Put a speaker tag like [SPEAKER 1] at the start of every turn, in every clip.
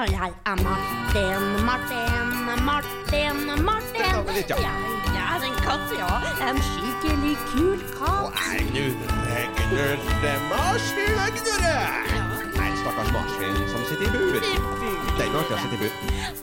[SPEAKER 1] Og jeg er Martin, Martin, Martin, Martin.
[SPEAKER 2] Stopp litt, ja.
[SPEAKER 1] Jeg er en katt, ja. En skikkelig kul katt.
[SPEAKER 2] Nei, stakkars marsvin som sitter i bur. Denmark har sittet i bur.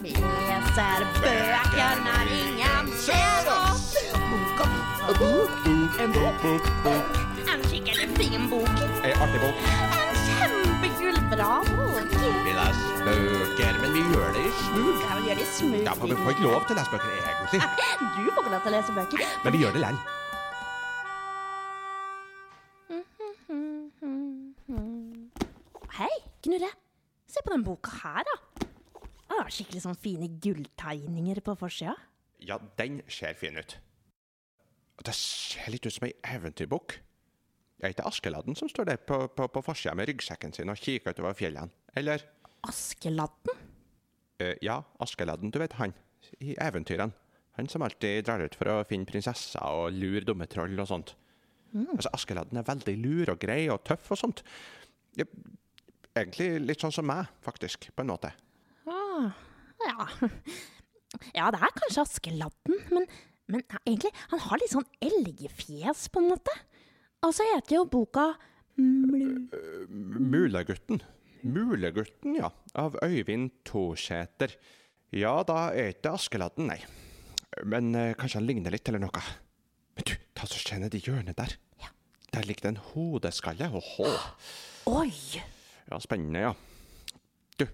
[SPEAKER 1] Vi leser bøker når ingen ser oss. Bok og bok og bok. En bok, bok, bok. En skikkelig fin bok.
[SPEAKER 2] Eh, artig bok.
[SPEAKER 1] En kjempekul, bra bok.
[SPEAKER 2] Vi leser bøker, men vi gjør det i smug.
[SPEAKER 1] Kan vi gjøre det smoothie?
[SPEAKER 2] Ja, for vi får ikke lov til å lese bøker egentlig,
[SPEAKER 1] Du får ikke lov til å lese bøker.
[SPEAKER 2] men vi gjør det likevel.
[SPEAKER 1] Hei, Knurre. Se på den boka her, da. Ah, skikkelig sånn fine gulltegninger på forsida.
[SPEAKER 2] Ja, den ser fin ut. Det ser litt ut som ei eventyrbok. Det er ikke Askeladden som står der på, på, på forsida med ryggsekken sin og kikker utover fjellene. Eller
[SPEAKER 1] Askeladden?
[SPEAKER 2] eh, Ja, Askeladden, du vet han i eventyrene. Han som alltid drar ut for å finne prinsesser og lure dumme troll og sånt. Altså, Askeladden er veldig lur og grei og tøff og sånt. Ja, Egentlig litt sånn som meg, faktisk, på en måte.
[SPEAKER 1] Ah, ja. ja, det er kanskje Askeladden, men, men ja, egentlig, han har litt sånn elgfjes, på en måte. Og så heter jo boka Mlu...
[SPEAKER 2] Mulegutten. Mulegutten, ja. Av Øyvind Tosæter. Ja, da er ikke Askeladden, nei. Men eh, kanskje han ligner litt, eller noe. Men du, ta så kjenn det hjørnet der.
[SPEAKER 1] Ja.
[SPEAKER 2] Der ligger det en hodeskalle. Åhå.
[SPEAKER 1] Oi!
[SPEAKER 2] Ja, spennende, ja. Du,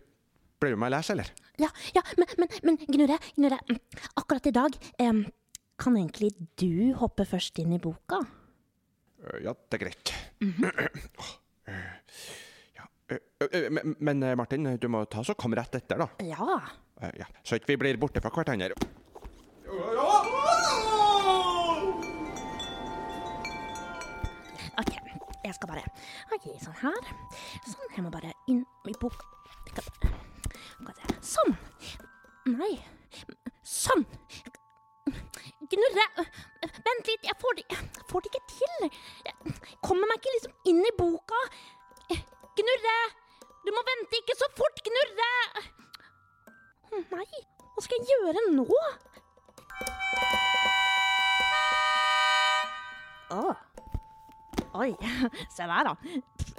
[SPEAKER 2] blir du med å lese, eller?
[SPEAKER 1] Ja, ja, men, men, men Gnurre, Gnurre, mm, akkurat i dag em, kan egentlig du hoppe først inn i boka?
[SPEAKER 2] Eh, Ja, det er greit. Åh, eh, ja, eh, eh, men- Men eh, Martin, du må ta så kom rett etter, da.
[SPEAKER 1] Ja.
[SPEAKER 2] Eh, Ja, så ikke vi blir borte fra hverandre.
[SPEAKER 1] Ok, jeg skal bare Ok, sånn her. Sånn, jeg må bare inn i bok... Skal bare- skal se. Sånn! Nei. Sånn! Gnurre! Vent litt, jeg får det, jeg får det ikke til. Jeg kommer meg ikke liksom inn i boka. Gnurre! Du må vente ikke så fort, Gnurre! Å nei, hva skal jeg gjøre nå? Åh. Oi, se der da.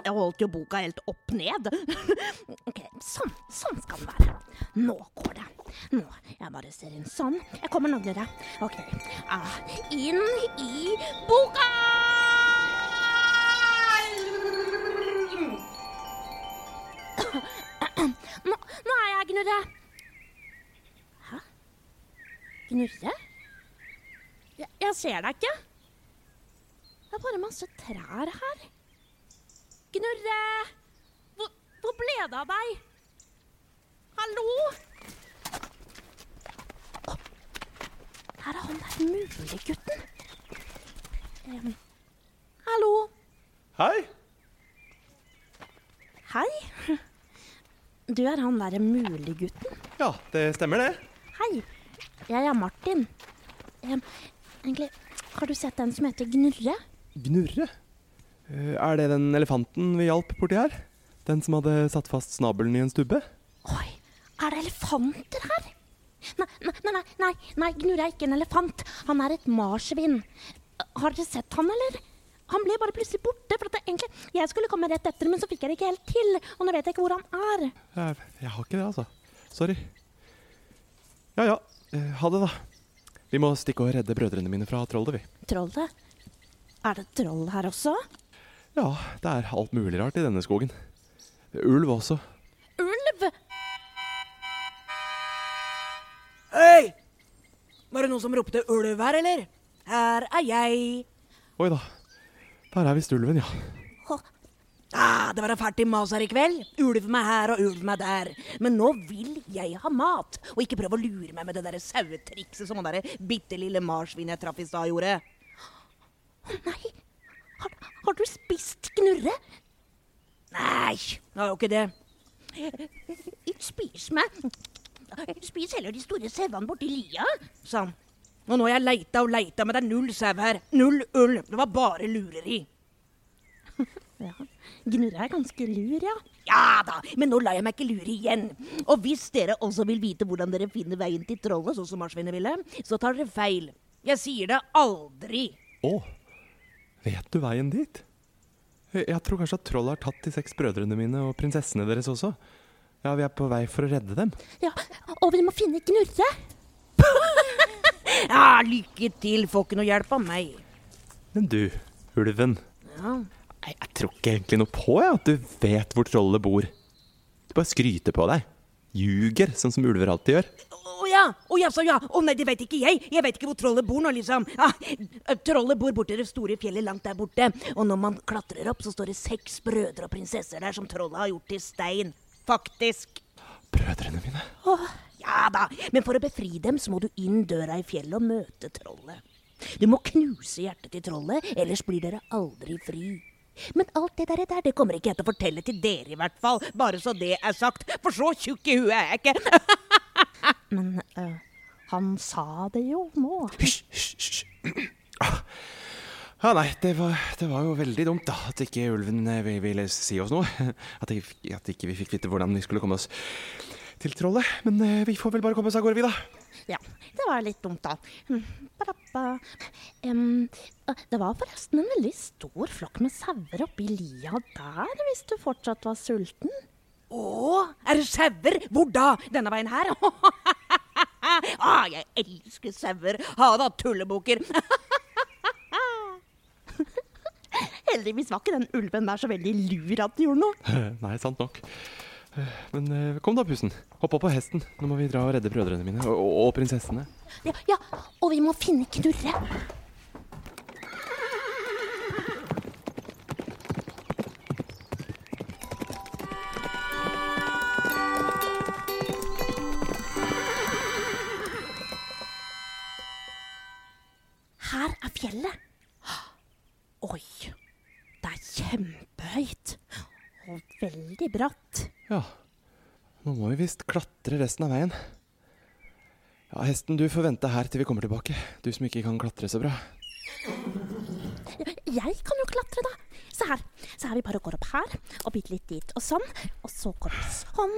[SPEAKER 1] Jeg holdt jo boka helt opp ned. Ok, sånn, sånn skal det være. Nå går det. Nå, jeg bare ser inn sånn. Jeg kommer nå, dere. Ok, ah, inn i boka! Nå, nå er jeg Gnurre. Hæ? Gnurre? Jeg, jeg ser deg ikke. Det er bare masse trær her. Gnurre! Hvor, hvor ble det av deg? Hallo? Å, Her er han der mulegutten. Um, hallo?
[SPEAKER 2] Hei!
[SPEAKER 1] Hei? Du er han derre mulegutten?
[SPEAKER 2] Ja, det stemmer det.
[SPEAKER 1] Hei, jeg er Martin. Em, egentlig, har du sett den som heter Gnurre?
[SPEAKER 3] Gnurre? Eh, Er det den elefanten vi hjalp borti her? Den som hadde satt fast snabelen i en stubbe?
[SPEAKER 1] Oi, er det elefanter her? Nei, nei, nei, nei, nei, nei Gnurre er ikke en elefant. Han er et marsvin. Har dere sett han, eller? Han ble bare plutselig borte. for at det egentlig, Jeg skulle komme rett etter, men så fikk jeg det ikke helt til. Og nå vet jeg ikke hvor han er.
[SPEAKER 3] Eh, Jeg har ikke det, altså. Sorry. Ja ja, eh, ha det, da. Vi må stikke og redde brødrene mine fra trollet, vi.
[SPEAKER 1] Trollet? Er det troll her også?
[SPEAKER 3] Ja, det er alt mulig rart i denne skogen. Ulv også.
[SPEAKER 1] Ulv!
[SPEAKER 4] Hei! Var det noen som ropte ulv her, eller? Her er jeg.
[SPEAKER 3] Oi da. Der er visst ulven, ja.
[SPEAKER 1] Å,
[SPEAKER 4] Ah, det var da fælt i mas her i kveld. Ulv meg her og ulv meg der. Men nå vil jeg ha mat, og ikke prøve å lure meg med det derre sauetrikset som han derre bitte lille marsvinet jeg traff i stad, gjorde.
[SPEAKER 1] nei. Har, har du spist Gnurre?
[SPEAKER 4] Nei, det var jo ikke det.
[SPEAKER 1] Ikke spis meg. Spis heller de store sauene borti lia.
[SPEAKER 4] Sånn. Og nå har jeg leita og leita, men det er null sau her. Null ulv. Det var bare lureri.
[SPEAKER 1] Ja. Gnurre er ganske lur, ja.
[SPEAKER 4] Ja da, men nå lar jeg meg ikke lure igjen. Og hvis dere også vil vite hvordan dere finner veien til trollet, sånn som marsvinet ville, så tar dere feil. Jeg sier det aldri.
[SPEAKER 2] Å, vet du veien dit?
[SPEAKER 3] Eh,
[SPEAKER 2] Jeg jeg tror kanskje at trollet har tatt de seks brødrene mine og prinsessene deres også. Ja, vi er på vei for å redde dem.
[SPEAKER 1] ja. Og vi må finne Gnurre.
[SPEAKER 4] Ja, lykke til. Får ikke noe hjelp av meg.
[SPEAKER 2] Men du, ulven.
[SPEAKER 4] Ja.
[SPEAKER 2] Nei, jeg tror ikke egentlig noe på jeg, at du vet hvor trollet bor. Du bare skryter på deg. Ljuger, sånn som ulver alltid gjør.
[SPEAKER 4] Å ja, å ja, så ja. Å nei, det vet ikke jeg. Jeg vet ikke hvor trollet bor nå, liksom. Ah, trollet bor borti det store fjellet langt der borte. Og når man klatrer opp, så står det seks brødre og prinsesser der som trollet har gjort til stein. Faktisk.
[SPEAKER 2] Brødrene mine.
[SPEAKER 4] Ja da, men for å befri dem så må du inn døra i fjellet og møte trollet. Du må knuse hjertet til trollet, ellers blir dere aldri fri. Men alt det der, der det kommer ikke jeg til å fortelle til dere, i hvert fall. Bare så det er sagt, for så tjukk i huet er jeg ikke.
[SPEAKER 1] Men eh, han sa det jo nå.
[SPEAKER 2] Hysj, hysj, hysj. Ja, nei, det var, det var jo veldig dumt, da. At ikke ulven eh, vi- ville si oss noe. At, ikke- at ikke vi fikk vite hvordan vi skulle komme oss til trollet. Men eh, vi får vel bare komme oss av gårde, vi, da.
[SPEAKER 1] Ja, det var litt dumt, da. Mm, parappa. Em, eh, det var forresten en veldig stor flokk med sauer oppi lia der, hvis du fortsatt var sulten.
[SPEAKER 4] Å, er det sauer? Hvor da? Denne veien her? ah, jeg elsker sauer. Ha da, tullebukker.
[SPEAKER 1] Heldigvis var ikke den ulven der så veldig lur at den gjorde noe.
[SPEAKER 2] Nei, sant nok. Eh, Men eh, kom da, pusen. Hopp opp på hesten. Nå må vi dra og redde brødrene mine. Og, og, og prinsessene.
[SPEAKER 1] Ja, ja, og vi må finne Knurre. Her er fjellet. Oi, det er kjempehøyt og veldig bratt.
[SPEAKER 2] Ja. Nå må vi visst klatre resten av veien. Ja, Hesten, du får vente her til vi kommer tilbake. Du som ikke kan klatre så bra.
[SPEAKER 1] Jeg kan jo klatre, da. Se her. Så her vi bare går opp her, og bitte litt dit, og sånn. Og så går vi sånn.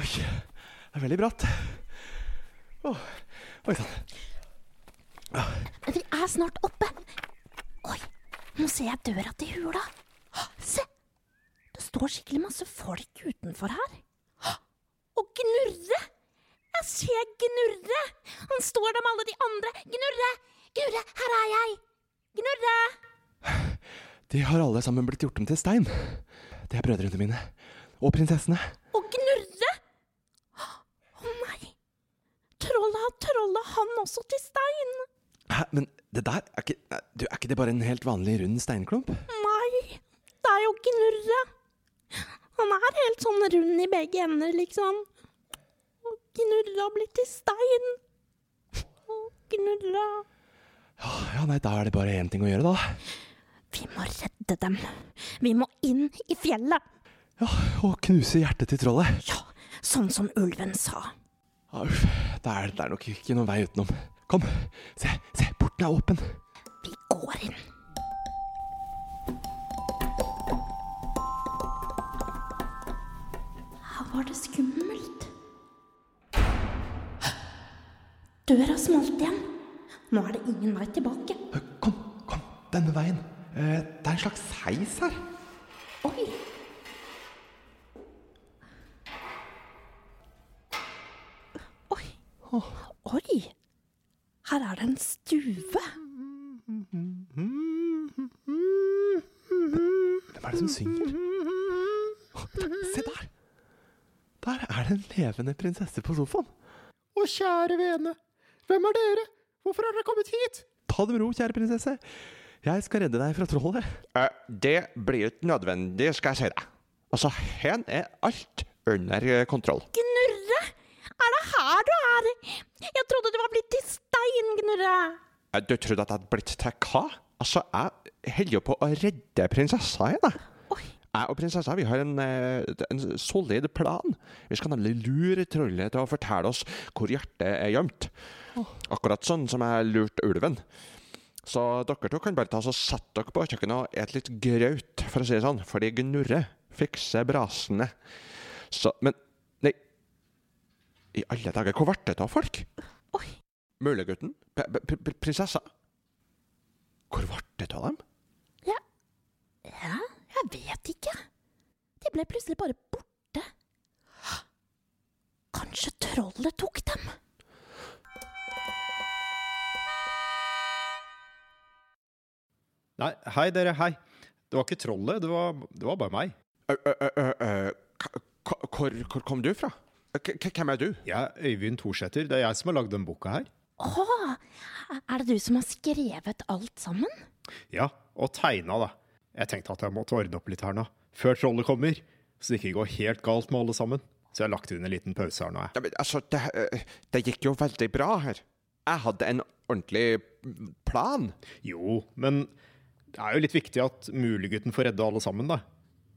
[SPEAKER 2] Oi, det er veldig bratt. Åh, oi sann.
[SPEAKER 1] Vi er snart oppe. Oi, nå ser jeg døra til hula. Hå, Se! Det står skikkelig masse folk utenfor her. Hå, Og Gnurre! Jeg ser Gnurre! Han står der med alle de andre. Gnurre! Gnurre, her er jeg! Gnurre!
[SPEAKER 2] De har alle sammen blitt gjort om til stein. Det er brødrene mine. Og prinsessene.
[SPEAKER 1] Og Gnurre! Å nei! Trollet har trollet han også til stein.
[SPEAKER 2] Hæ, men det der er ikke nei, du, Er ikke det bare en helt vanlig rund steinklump?
[SPEAKER 1] Nei, det er jo Gnurre. Han er helt sånn rund i begge ender, liksom. Og Gnurre har blitt til stein. Og Gnurre
[SPEAKER 2] Ja, nei, da er det bare én ting å gjøre, da.
[SPEAKER 1] Vi må redde dem. Vi må inn i fjellet.
[SPEAKER 2] Ja, Å knuse hjertet til trollet.
[SPEAKER 1] Ja, sånn som ulven sa.
[SPEAKER 2] Ja, Ah, uff, det er, det er nok ikke noen vei utenom. Kom, se, se, porten er åpen.
[SPEAKER 1] Vi går inn. Her var det skummelt. Døra smalt igjen. Nå er det ingen vei tilbake.
[SPEAKER 2] Kom, kom, denne veien. Eh, det er en slags heis her.
[SPEAKER 1] Oi! Oi. Oi! Her er det en stue.
[SPEAKER 2] Hvem er det som synger? Å, der- Se der! Der er det en levende prinsesse på sofaen.
[SPEAKER 5] Å, kjære vene, hvem er dere? Hvorfor har dere kommet hit?
[SPEAKER 2] Ta det med ro, kjære prinsesse. Jeg skal redde deg fra trollet.
[SPEAKER 6] Eh, det blir ikke nødvendig, skal jeg si deg. Altså, hen er alt under eh, kontroll.
[SPEAKER 1] Gnurre! Er det her du er? Jeg trodde du var blitt til stein, Gnurre.
[SPEAKER 6] Eh, Du trodde at jeg hadde blitt til hva? Altså, jeg holder jo på å redde prinsessa igjen, jeg.
[SPEAKER 1] Oi.
[SPEAKER 6] Jeg og prinsessa vi har en, eh, en solid plan. Vi skal nemlig lure trollet til å fortelle oss hvor hjertet er gjemt. Akkurat sånn som jeg lurte ulven.
[SPEAKER 2] Så dere to kan bare ta så sette dere på kjøkkenet og et litt grøt, for å si det sånn. Fordi Gnurre fikser brasene. Så Men Nei. I alle dager, hvor ble det av folk?
[SPEAKER 1] Oi.
[SPEAKER 2] Mulegutten? P- p- p- Prinsessa? Hvor ble det av dem?
[SPEAKER 1] Ja, jeg vet ikke. De ble plutselig bare borte. Kanskje trollet tok dem?
[SPEAKER 6] Nei, hei dere, hei. Det var ikke trollet, det var, det var bare meg.
[SPEAKER 2] Ø, ø, ø, ø, ø, k- k- Hvor, hvor kom du fra? K k- hvem er du?
[SPEAKER 6] Jeg er Øyvind Thorsæter. Det er jeg som har lagd den boka her.
[SPEAKER 1] Å, er det du som har skrevet alt sammen?
[SPEAKER 6] Ja, og tegna, da. Jeg tenkte at jeg måtte ordne opp litt her nå, før trollet kommer. Så det ikke går helt galt med alle sammen. Så jeg har lagt inn en liten pause her nå, jeg.
[SPEAKER 2] Ja, men, altså, det, ø, det gikk jo veldig bra her. Jeg hadde en ordentlig plan.
[SPEAKER 6] Jo, men det er jo litt viktig at Mulegutten får redde alle sammen, da.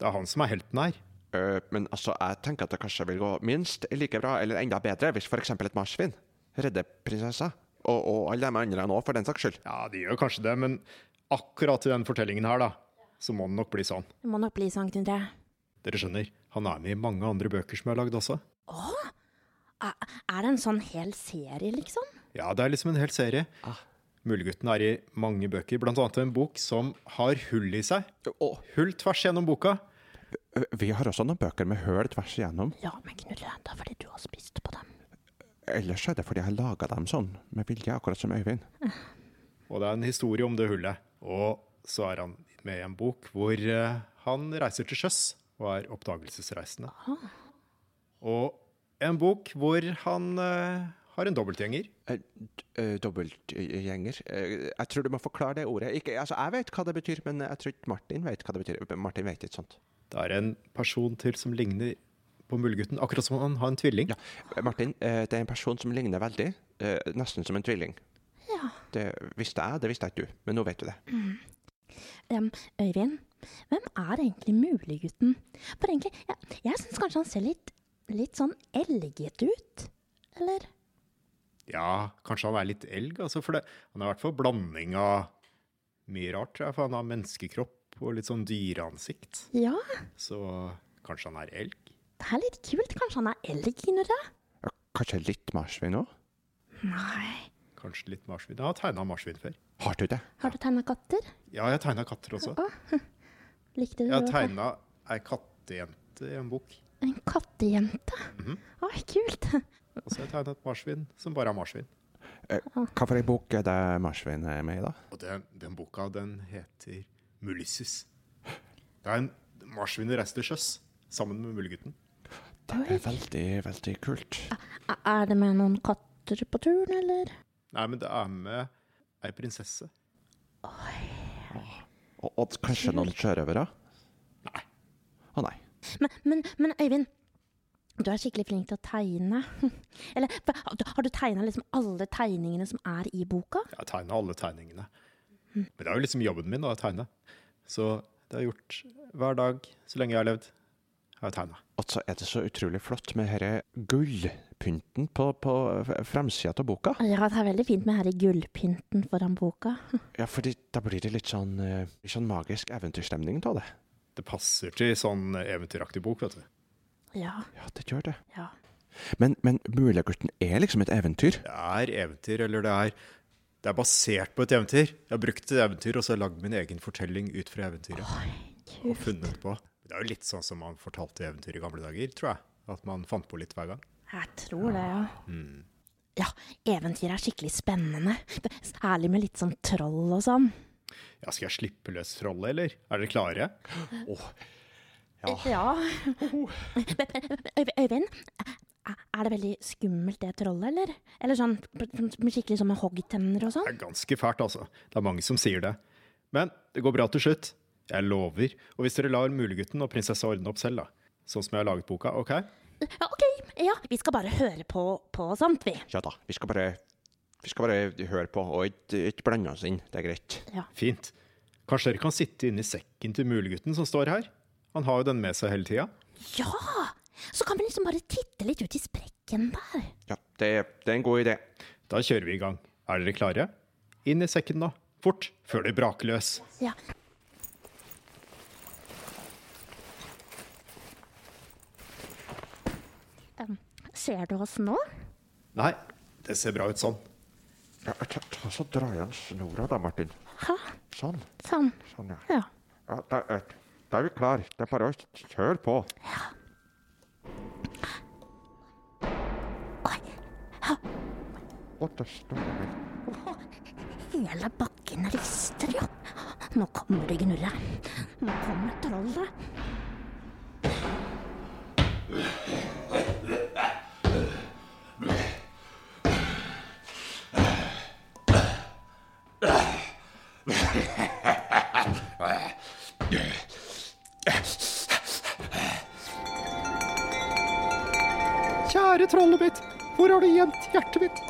[SPEAKER 6] Det er han som er helten her.
[SPEAKER 2] Ø, men altså, jeg tenker at det kanskje vil gå minst like bra, eller enda bedre, hvis f.eks. et marsvin redder prinsessa. Og, og alle de andre nå, for den saks skyld.
[SPEAKER 6] Ja, de gjør kanskje det, men akkurat i den fortellingen her, da, så må det nok bli sånn.
[SPEAKER 1] Det må nok bli sånn, Knut.
[SPEAKER 6] Dere skjønner, han er med i mange andre bøker som jeg har lagd også.
[SPEAKER 1] Er det en sånn hel serie, liksom?
[SPEAKER 6] Ja, det er liksom en hel serie. Mulegutten er i mange bøker, blant annet en bok som har hull i seg.
[SPEAKER 2] Og
[SPEAKER 6] Hull tvers gjennom boka.
[SPEAKER 2] ø, vi har også noen bøker med høl tvers igjennom.
[SPEAKER 1] Ja, men Knulle, det er fordi du har spist på dem.
[SPEAKER 2] Ellers er det fordi jeg har laga dem sånn, med vilje, akkurat som Øyvind.
[SPEAKER 6] Og det er en historie om det hullet. Og så er han med i en bok hvor eh, han reiser til sjøs og er oppdagelsesreisende. Og en bok hvor han eh, har en dobbeltgjenger.
[SPEAKER 2] Eh, d- eh, Dobbeltgjenger Eh, Jeg tror du må forklare det ordet. Ikke, altså, jeg vet hva det betyr, men jeg tror ikke Martin vet hva det betyr. Eh, Martin vet ikke sånt.
[SPEAKER 6] Det er en person til som ligner på Mulegutten, akkurat som han har en tvilling.
[SPEAKER 2] Ja. eh, Martin, eh, det er en person som ligner veldig. eh, Nesten som en tvilling.
[SPEAKER 1] Ja.
[SPEAKER 2] Det visste jeg, det visste ikke du. Men nå vet du det.
[SPEAKER 1] Em, Øyvind, hvem er egentlig muliggutten? For egentlig, jeg, jeg syns kanskje han ser litt, litt sånn elgete ut, eller?
[SPEAKER 6] Ja, kanskje han er litt elg, altså. For det, han er i hvert fall blanding av mye rart, tror jeg. For han har menneskekropp og litt sånn dyreansikt.
[SPEAKER 1] Ja,
[SPEAKER 6] Så kanskje han er elg?
[SPEAKER 1] det er litt kult. Kanskje han er elg, Knulle?
[SPEAKER 2] Ja, Kanskje litt marsvin òg?
[SPEAKER 1] Nei.
[SPEAKER 6] Kanskje litt marsvin? Jeg har tegna marsvin før.
[SPEAKER 2] Har du det?
[SPEAKER 1] Har du tegna katter?
[SPEAKER 6] Ja, jeg tegna katter også.
[SPEAKER 1] Likte du
[SPEAKER 6] Jeg har
[SPEAKER 1] å te-
[SPEAKER 6] tegna ei kattejente i en bok.
[SPEAKER 1] En kattejente? Oi, kult.
[SPEAKER 6] Og så har jeg tegna et marsvin som bare er marsvin.
[SPEAKER 2] Eh, Hva for ei bok er det marsvin er med i, da?
[SPEAKER 6] Og den, den boka, den heter Mulisses. Det er en marsvin i reiste til sjøs, sammen med Mulegutten.
[SPEAKER 2] Det er veldig, veldig kult.
[SPEAKER 1] Er- Er det med noen katter på turen, eller?
[SPEAKER 6] Nei, men det er med ei prinsesse.
[SPEAKER 2] Og, og kanskje noen sjørøvere?
[SPEAKER 6] Nei.
[SPEAKER 2] Å nei.
[SPEAKER 1] Men, men, men Øyvind, du er skikkelig flink til å tegne. Eller for- har du tegna liksom alle tegningene som er i boka?
[SPEAKER 6] Jeg tegna alle tegningene. Men det er jo liksom jobben min da, å tegne. Så det har jeg gjort hver dag så lenge jeg har levd. Jeg har tegna.
[SPEAKER 2] Altså, er det så utrolig flott med denne gullpynten på, på framsida av boka?
[SPEAKER 1] Ja, det er veldig fint med her i gullpynten foran boka.
[SPEAKER 2] Ja, fordi da blir det litt sånn, eh, litt sånn magisk eventyrstemning av det.
[SPEAKER 6] Det passer til sånn eventyraktig bok, vet du.
[SPEAKER 1] Ja,
[SPEAKER 2] Ja, det gjør det.
[SPEAKER 1] ja.
[SPEAKER 2] Men, men Mulegutten er liksom et eventyr.
[SPEAKER 6] det er eventyr, eller det er, det er basert på et eventyr. Jeg har brukt et eventyr, og så har jeg lagd min egen fortelling ut fra eventyret. og funnet på. Det er jo litt sånn som man fortalte eventyr i gamle dager, tror jeg. At man fant på litt hver gang.
[SPEAKER 1] Jeg tror det, ja. Ja, eventyr er skikkelig spennende. Særlig med litt sånn troll og sånn.
[SPEAKER 6] Ja, skal jeg slippe løs trollet, eller? Er dere klare?
[SPEAKER 1] Ja. Øy- Øyvind, er det veldig skummelt det trollet, eller? Eller sånn med skikkelig sånn med hoggtenner og sånn?
[SPEAKER 6] Det er ganske fælt, altså. Det er mange som sier det. Men det går bra til slutt. Jeg lover. Og hvis dere lar Mulegutten og prinsessa ordne opp selv, da. Sånn som jeg har laget boka, OK?
[SPEAKER 1] Ja, ok, ja, vi skal bare høre på, på sånt, vi.
[SPEAKER 2] Ja da, vi skal bare, vi skal bare høre på og ikke, ikke blande oss inn. Det er greit.
[SPEAKER 6] Fint. Kanskje dere kan sitte inne i sekken til Mulegutten som står her? Han har jo den med seg hele tida.
[SPEAKER 1] Ja! Så kan vi liksom bare titte litt ut i sprekken der.
[SPEAKER 2] Ja, det, det er en god idé.
[SPEAKER 6] Da kjører vi i gang. Er dere klare? Inn i sekken, da. Fort, før det braker løs.
[SPEAKER 1] Ja. Em, ser du oss nå?
[SPEAKER 6] Nei, det ser bra ut sånn.
[SPEAKER 2] Ja, ta, ta så Dra igjen snora, da, Martin.
[SPEAKER 1] Hæ?
[SPEAKER 2] Sånn.
[SPEAKER 1] Sånn.
[SPEAKER 2] sånn ja.
[SPEAKER 1] Ja.
[SPEAKER 2] Ja, da, eh, da er vi klar. Det er bare å kjøre på.
[SPEAKER 1] Oi,
[SPEAKER 2] Å, det står vel
[SPEAKER 1] hele bakken rister jo. Nå kommer det gnurre. Nå kommer trollet.
[SPEAKER 7] Kjære trollet mitt, hvor har du gjemt hjertet mitt?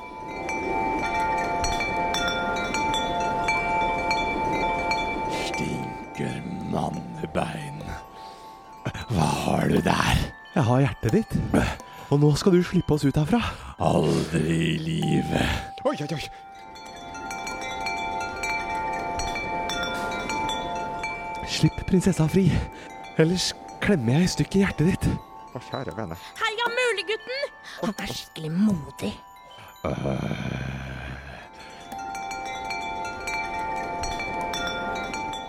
[SPEAKER 3] Stinker mannebein. Hva har du der? Jeg har hjertet ditt. Og nå skal du slippe oss ut herfra. Aldri i livet.
[SPEAKER 2] Oi, oi, oi.
[SPEAKER 3] Slipp prinsessa fri. Ellers klemmer jeg i stykker hjertet ditt.
[SPEAKER 2] Å, kjære vene.
[SPEAKER 1] Heia Mulegutten! Han er skikkelig modig.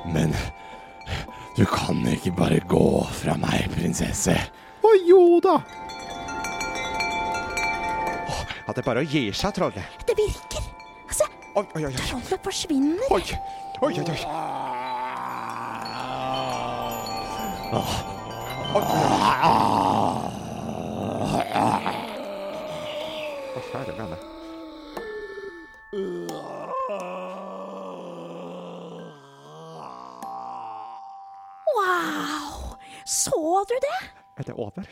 [SPEAKER 3] Men du kan ikke bare gå fra meg, prinsesse.
[SPEAKER 7] Å jo da!
[SPEAKER 2] At det er bare å gi seg, trollet.
[SPEAKER 1] Det virker. Se,
[SPEAKER 2] Oi, oi, oi.
[SPEAKER 1] trollet forsvinner.
[SPEAKER 2] Oi, oi, oi. oi. Å, kjære vene.
[SPEAKER 1] Wow! Så du det?
[SPEAKER 2] Er det over?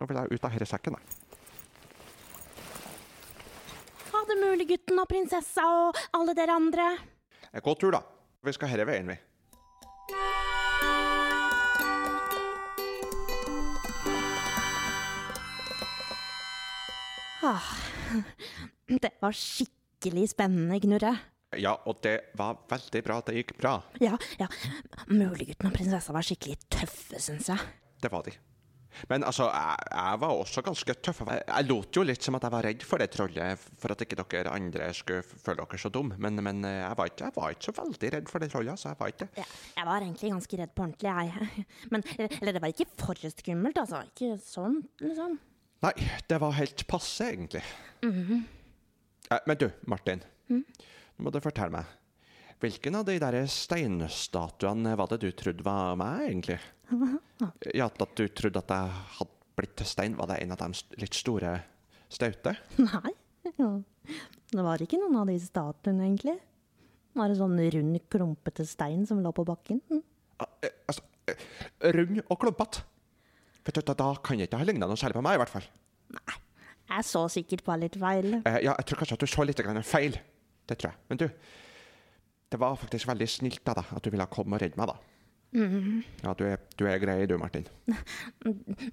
[SPEAKER 2] Nå vil jeg ut av denne sekken, jeg.
[SPEAKER 1] Ha det, Mulegutten og prinsessa og alle dere andre.
[SPEAKER 2] Eh, God tur, da. Vi skal herre veien, vi.
[SPEAKER 1] Ah, det var skikkelig spennende, Gnurre.
[SPEAKER 2] Ja, og det var veldig bra at det gikk bra.
[SPEAKER 1] Ja, ja. Mulegutten og prinsessa var skikkelig tøffe, syns jeg.
[SPEAKER 2] Det var de. Men altså, jeg, jeg var også ganske tøff. Jeg, jeg lot jo litt som at jeg var redd for det trollet, for at ikke dere andre skulle f- føle dere så dum. Men, men eh, jeg, var ikke, jeg var ikke så veldig redd for det trollet, altså. Jeg var ikke det.
[SPEAKER 1] Ja, jeg var egentlig ganske redd på ordentlig, jeg. Men eller, det var ikke for skummelt, altså. Ikke sånn, liksom.
[SPEAKER 2] Nei, det var helt passe, egentlig. Eh, Men du, Martin. Nå må du fortelle meg. Hvilken av de der steinstatuene var det du trodde var meg, egentlig? Ja, at du trodde at jeg hadde blitt til stein. Var det en av de st- litt store, staute?
[SPEAKER 1] Nei. Ja. Det var ikke noen av de statuene, egentlig. Det var en sånn rund, klumpete stein som lå på bakken.
[SPEAKER 2] Ah, eh, Altså, eh, rund og klumpete. Vet du, da- Da kan jeg ikke ha ligna noe særlig på meg, i hvert fall.
[SPEAKER 1] Jeg så sikkert bare litt feil.
[SPEAKER 2] Eh, ja, jeg tror kanskje at du så litt grann feil. Det tror jeg. Men du, det var faktisk veldig snilt av deg at du ville komme og redde meg, da. Ja, du er, du er grei, du, Martin.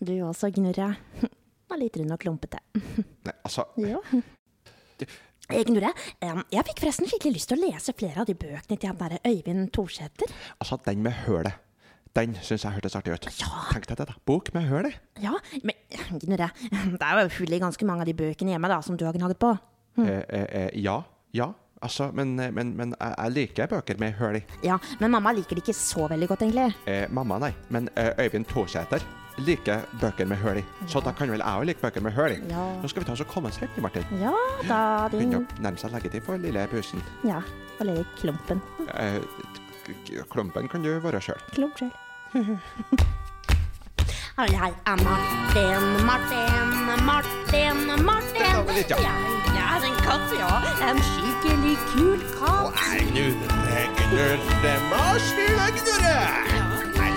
[SPEAKER 1] Du også, Gnurre. Var litt rund og klumpete.
[SPEAKER 2] Nei, altså,
[SPEAKER 1] Jo. Gnurre, eh, em, jeg fikk forresten skikkelig lyst til å lese flere av de bøkene til han derre Øyvind Thorsæter.
[SPEAKER 2] altså den med hølet. Den syns jeg hørtes artig ut.
[SPEAKER 1] Ja.
[SPEAKER 2] Tenk deg det, da. Bok med høl i.
[SPEAKER 1] Ja, men Gnurre, det er jo hull i ganske mange av de bøkene hjemme da, som du har gnaget på.
[SPEAKER 2] Eh, eh, eh, ja. Ja. Altså, men, men, men jeg, jeg liker bøker med høl i.
[SPEAKER 1] Ja, men mamma liker det ikke så veldig godt, egentlig.
[SPEAKER 2] Eh, mamma, nei. Men eh, Øyvind Thorsæter liker bøker med høl i. Så da kan vel jeg òg like bøker med høl i.
[SPEAKER 1] Ja.
[SPEAKER 2] Nå skal vi ta oss og komme oss vekk, Martin.
[SPEAKER 1] Ja, da din
[SPEAKER 2] Begynner å nærme seg leggetid for lille pusen.
[SPEAKER 1] Ja, og lille klumpen.
[SPEAKER 2] Eh, k- k- klumpen kan du være sjøl.
[SPEAKER 1] Klump sjøl. Jeg er Martin, Martin, Martin,
[SPEAKER 2] var
[SPEAKER 1] Martin.
[SPEAKER 2] vel litt, ja.
[SPEAKER 1] Jeg er en katt, ja. En skikkelig kul katt.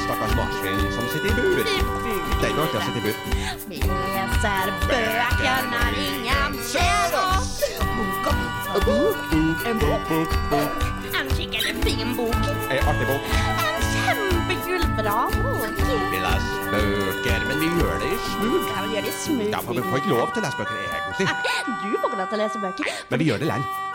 [SPEAKER 2] Stakkars marsvin som sitter i bur. Det er ikke artig å sitte i bur.
[SPEAKER 1] Vi leser bøker når ingen ser oss. Bok og bok en bok, bok, bok. En skikkelig fin bok.
[SPEAKER 2] Ei artig bok.
[SPEAKER 1] En kjempekul, bra bok.
[SPEAKER 2] Vi leser bøker, men vi gjør det i
[SPEAKER 1] Mm.
[SPEAKER 2] smug.
[SPEAKER 1] Jeg vil gjøre det smooth.
[SPEAKER 2] Ja, men vi får ikke lov til å lese bøker egentlig,
[SPEAKER 1] Du får ikke lov til å lese bøker.
[SPEAKER 2] men vi gjør det likevel.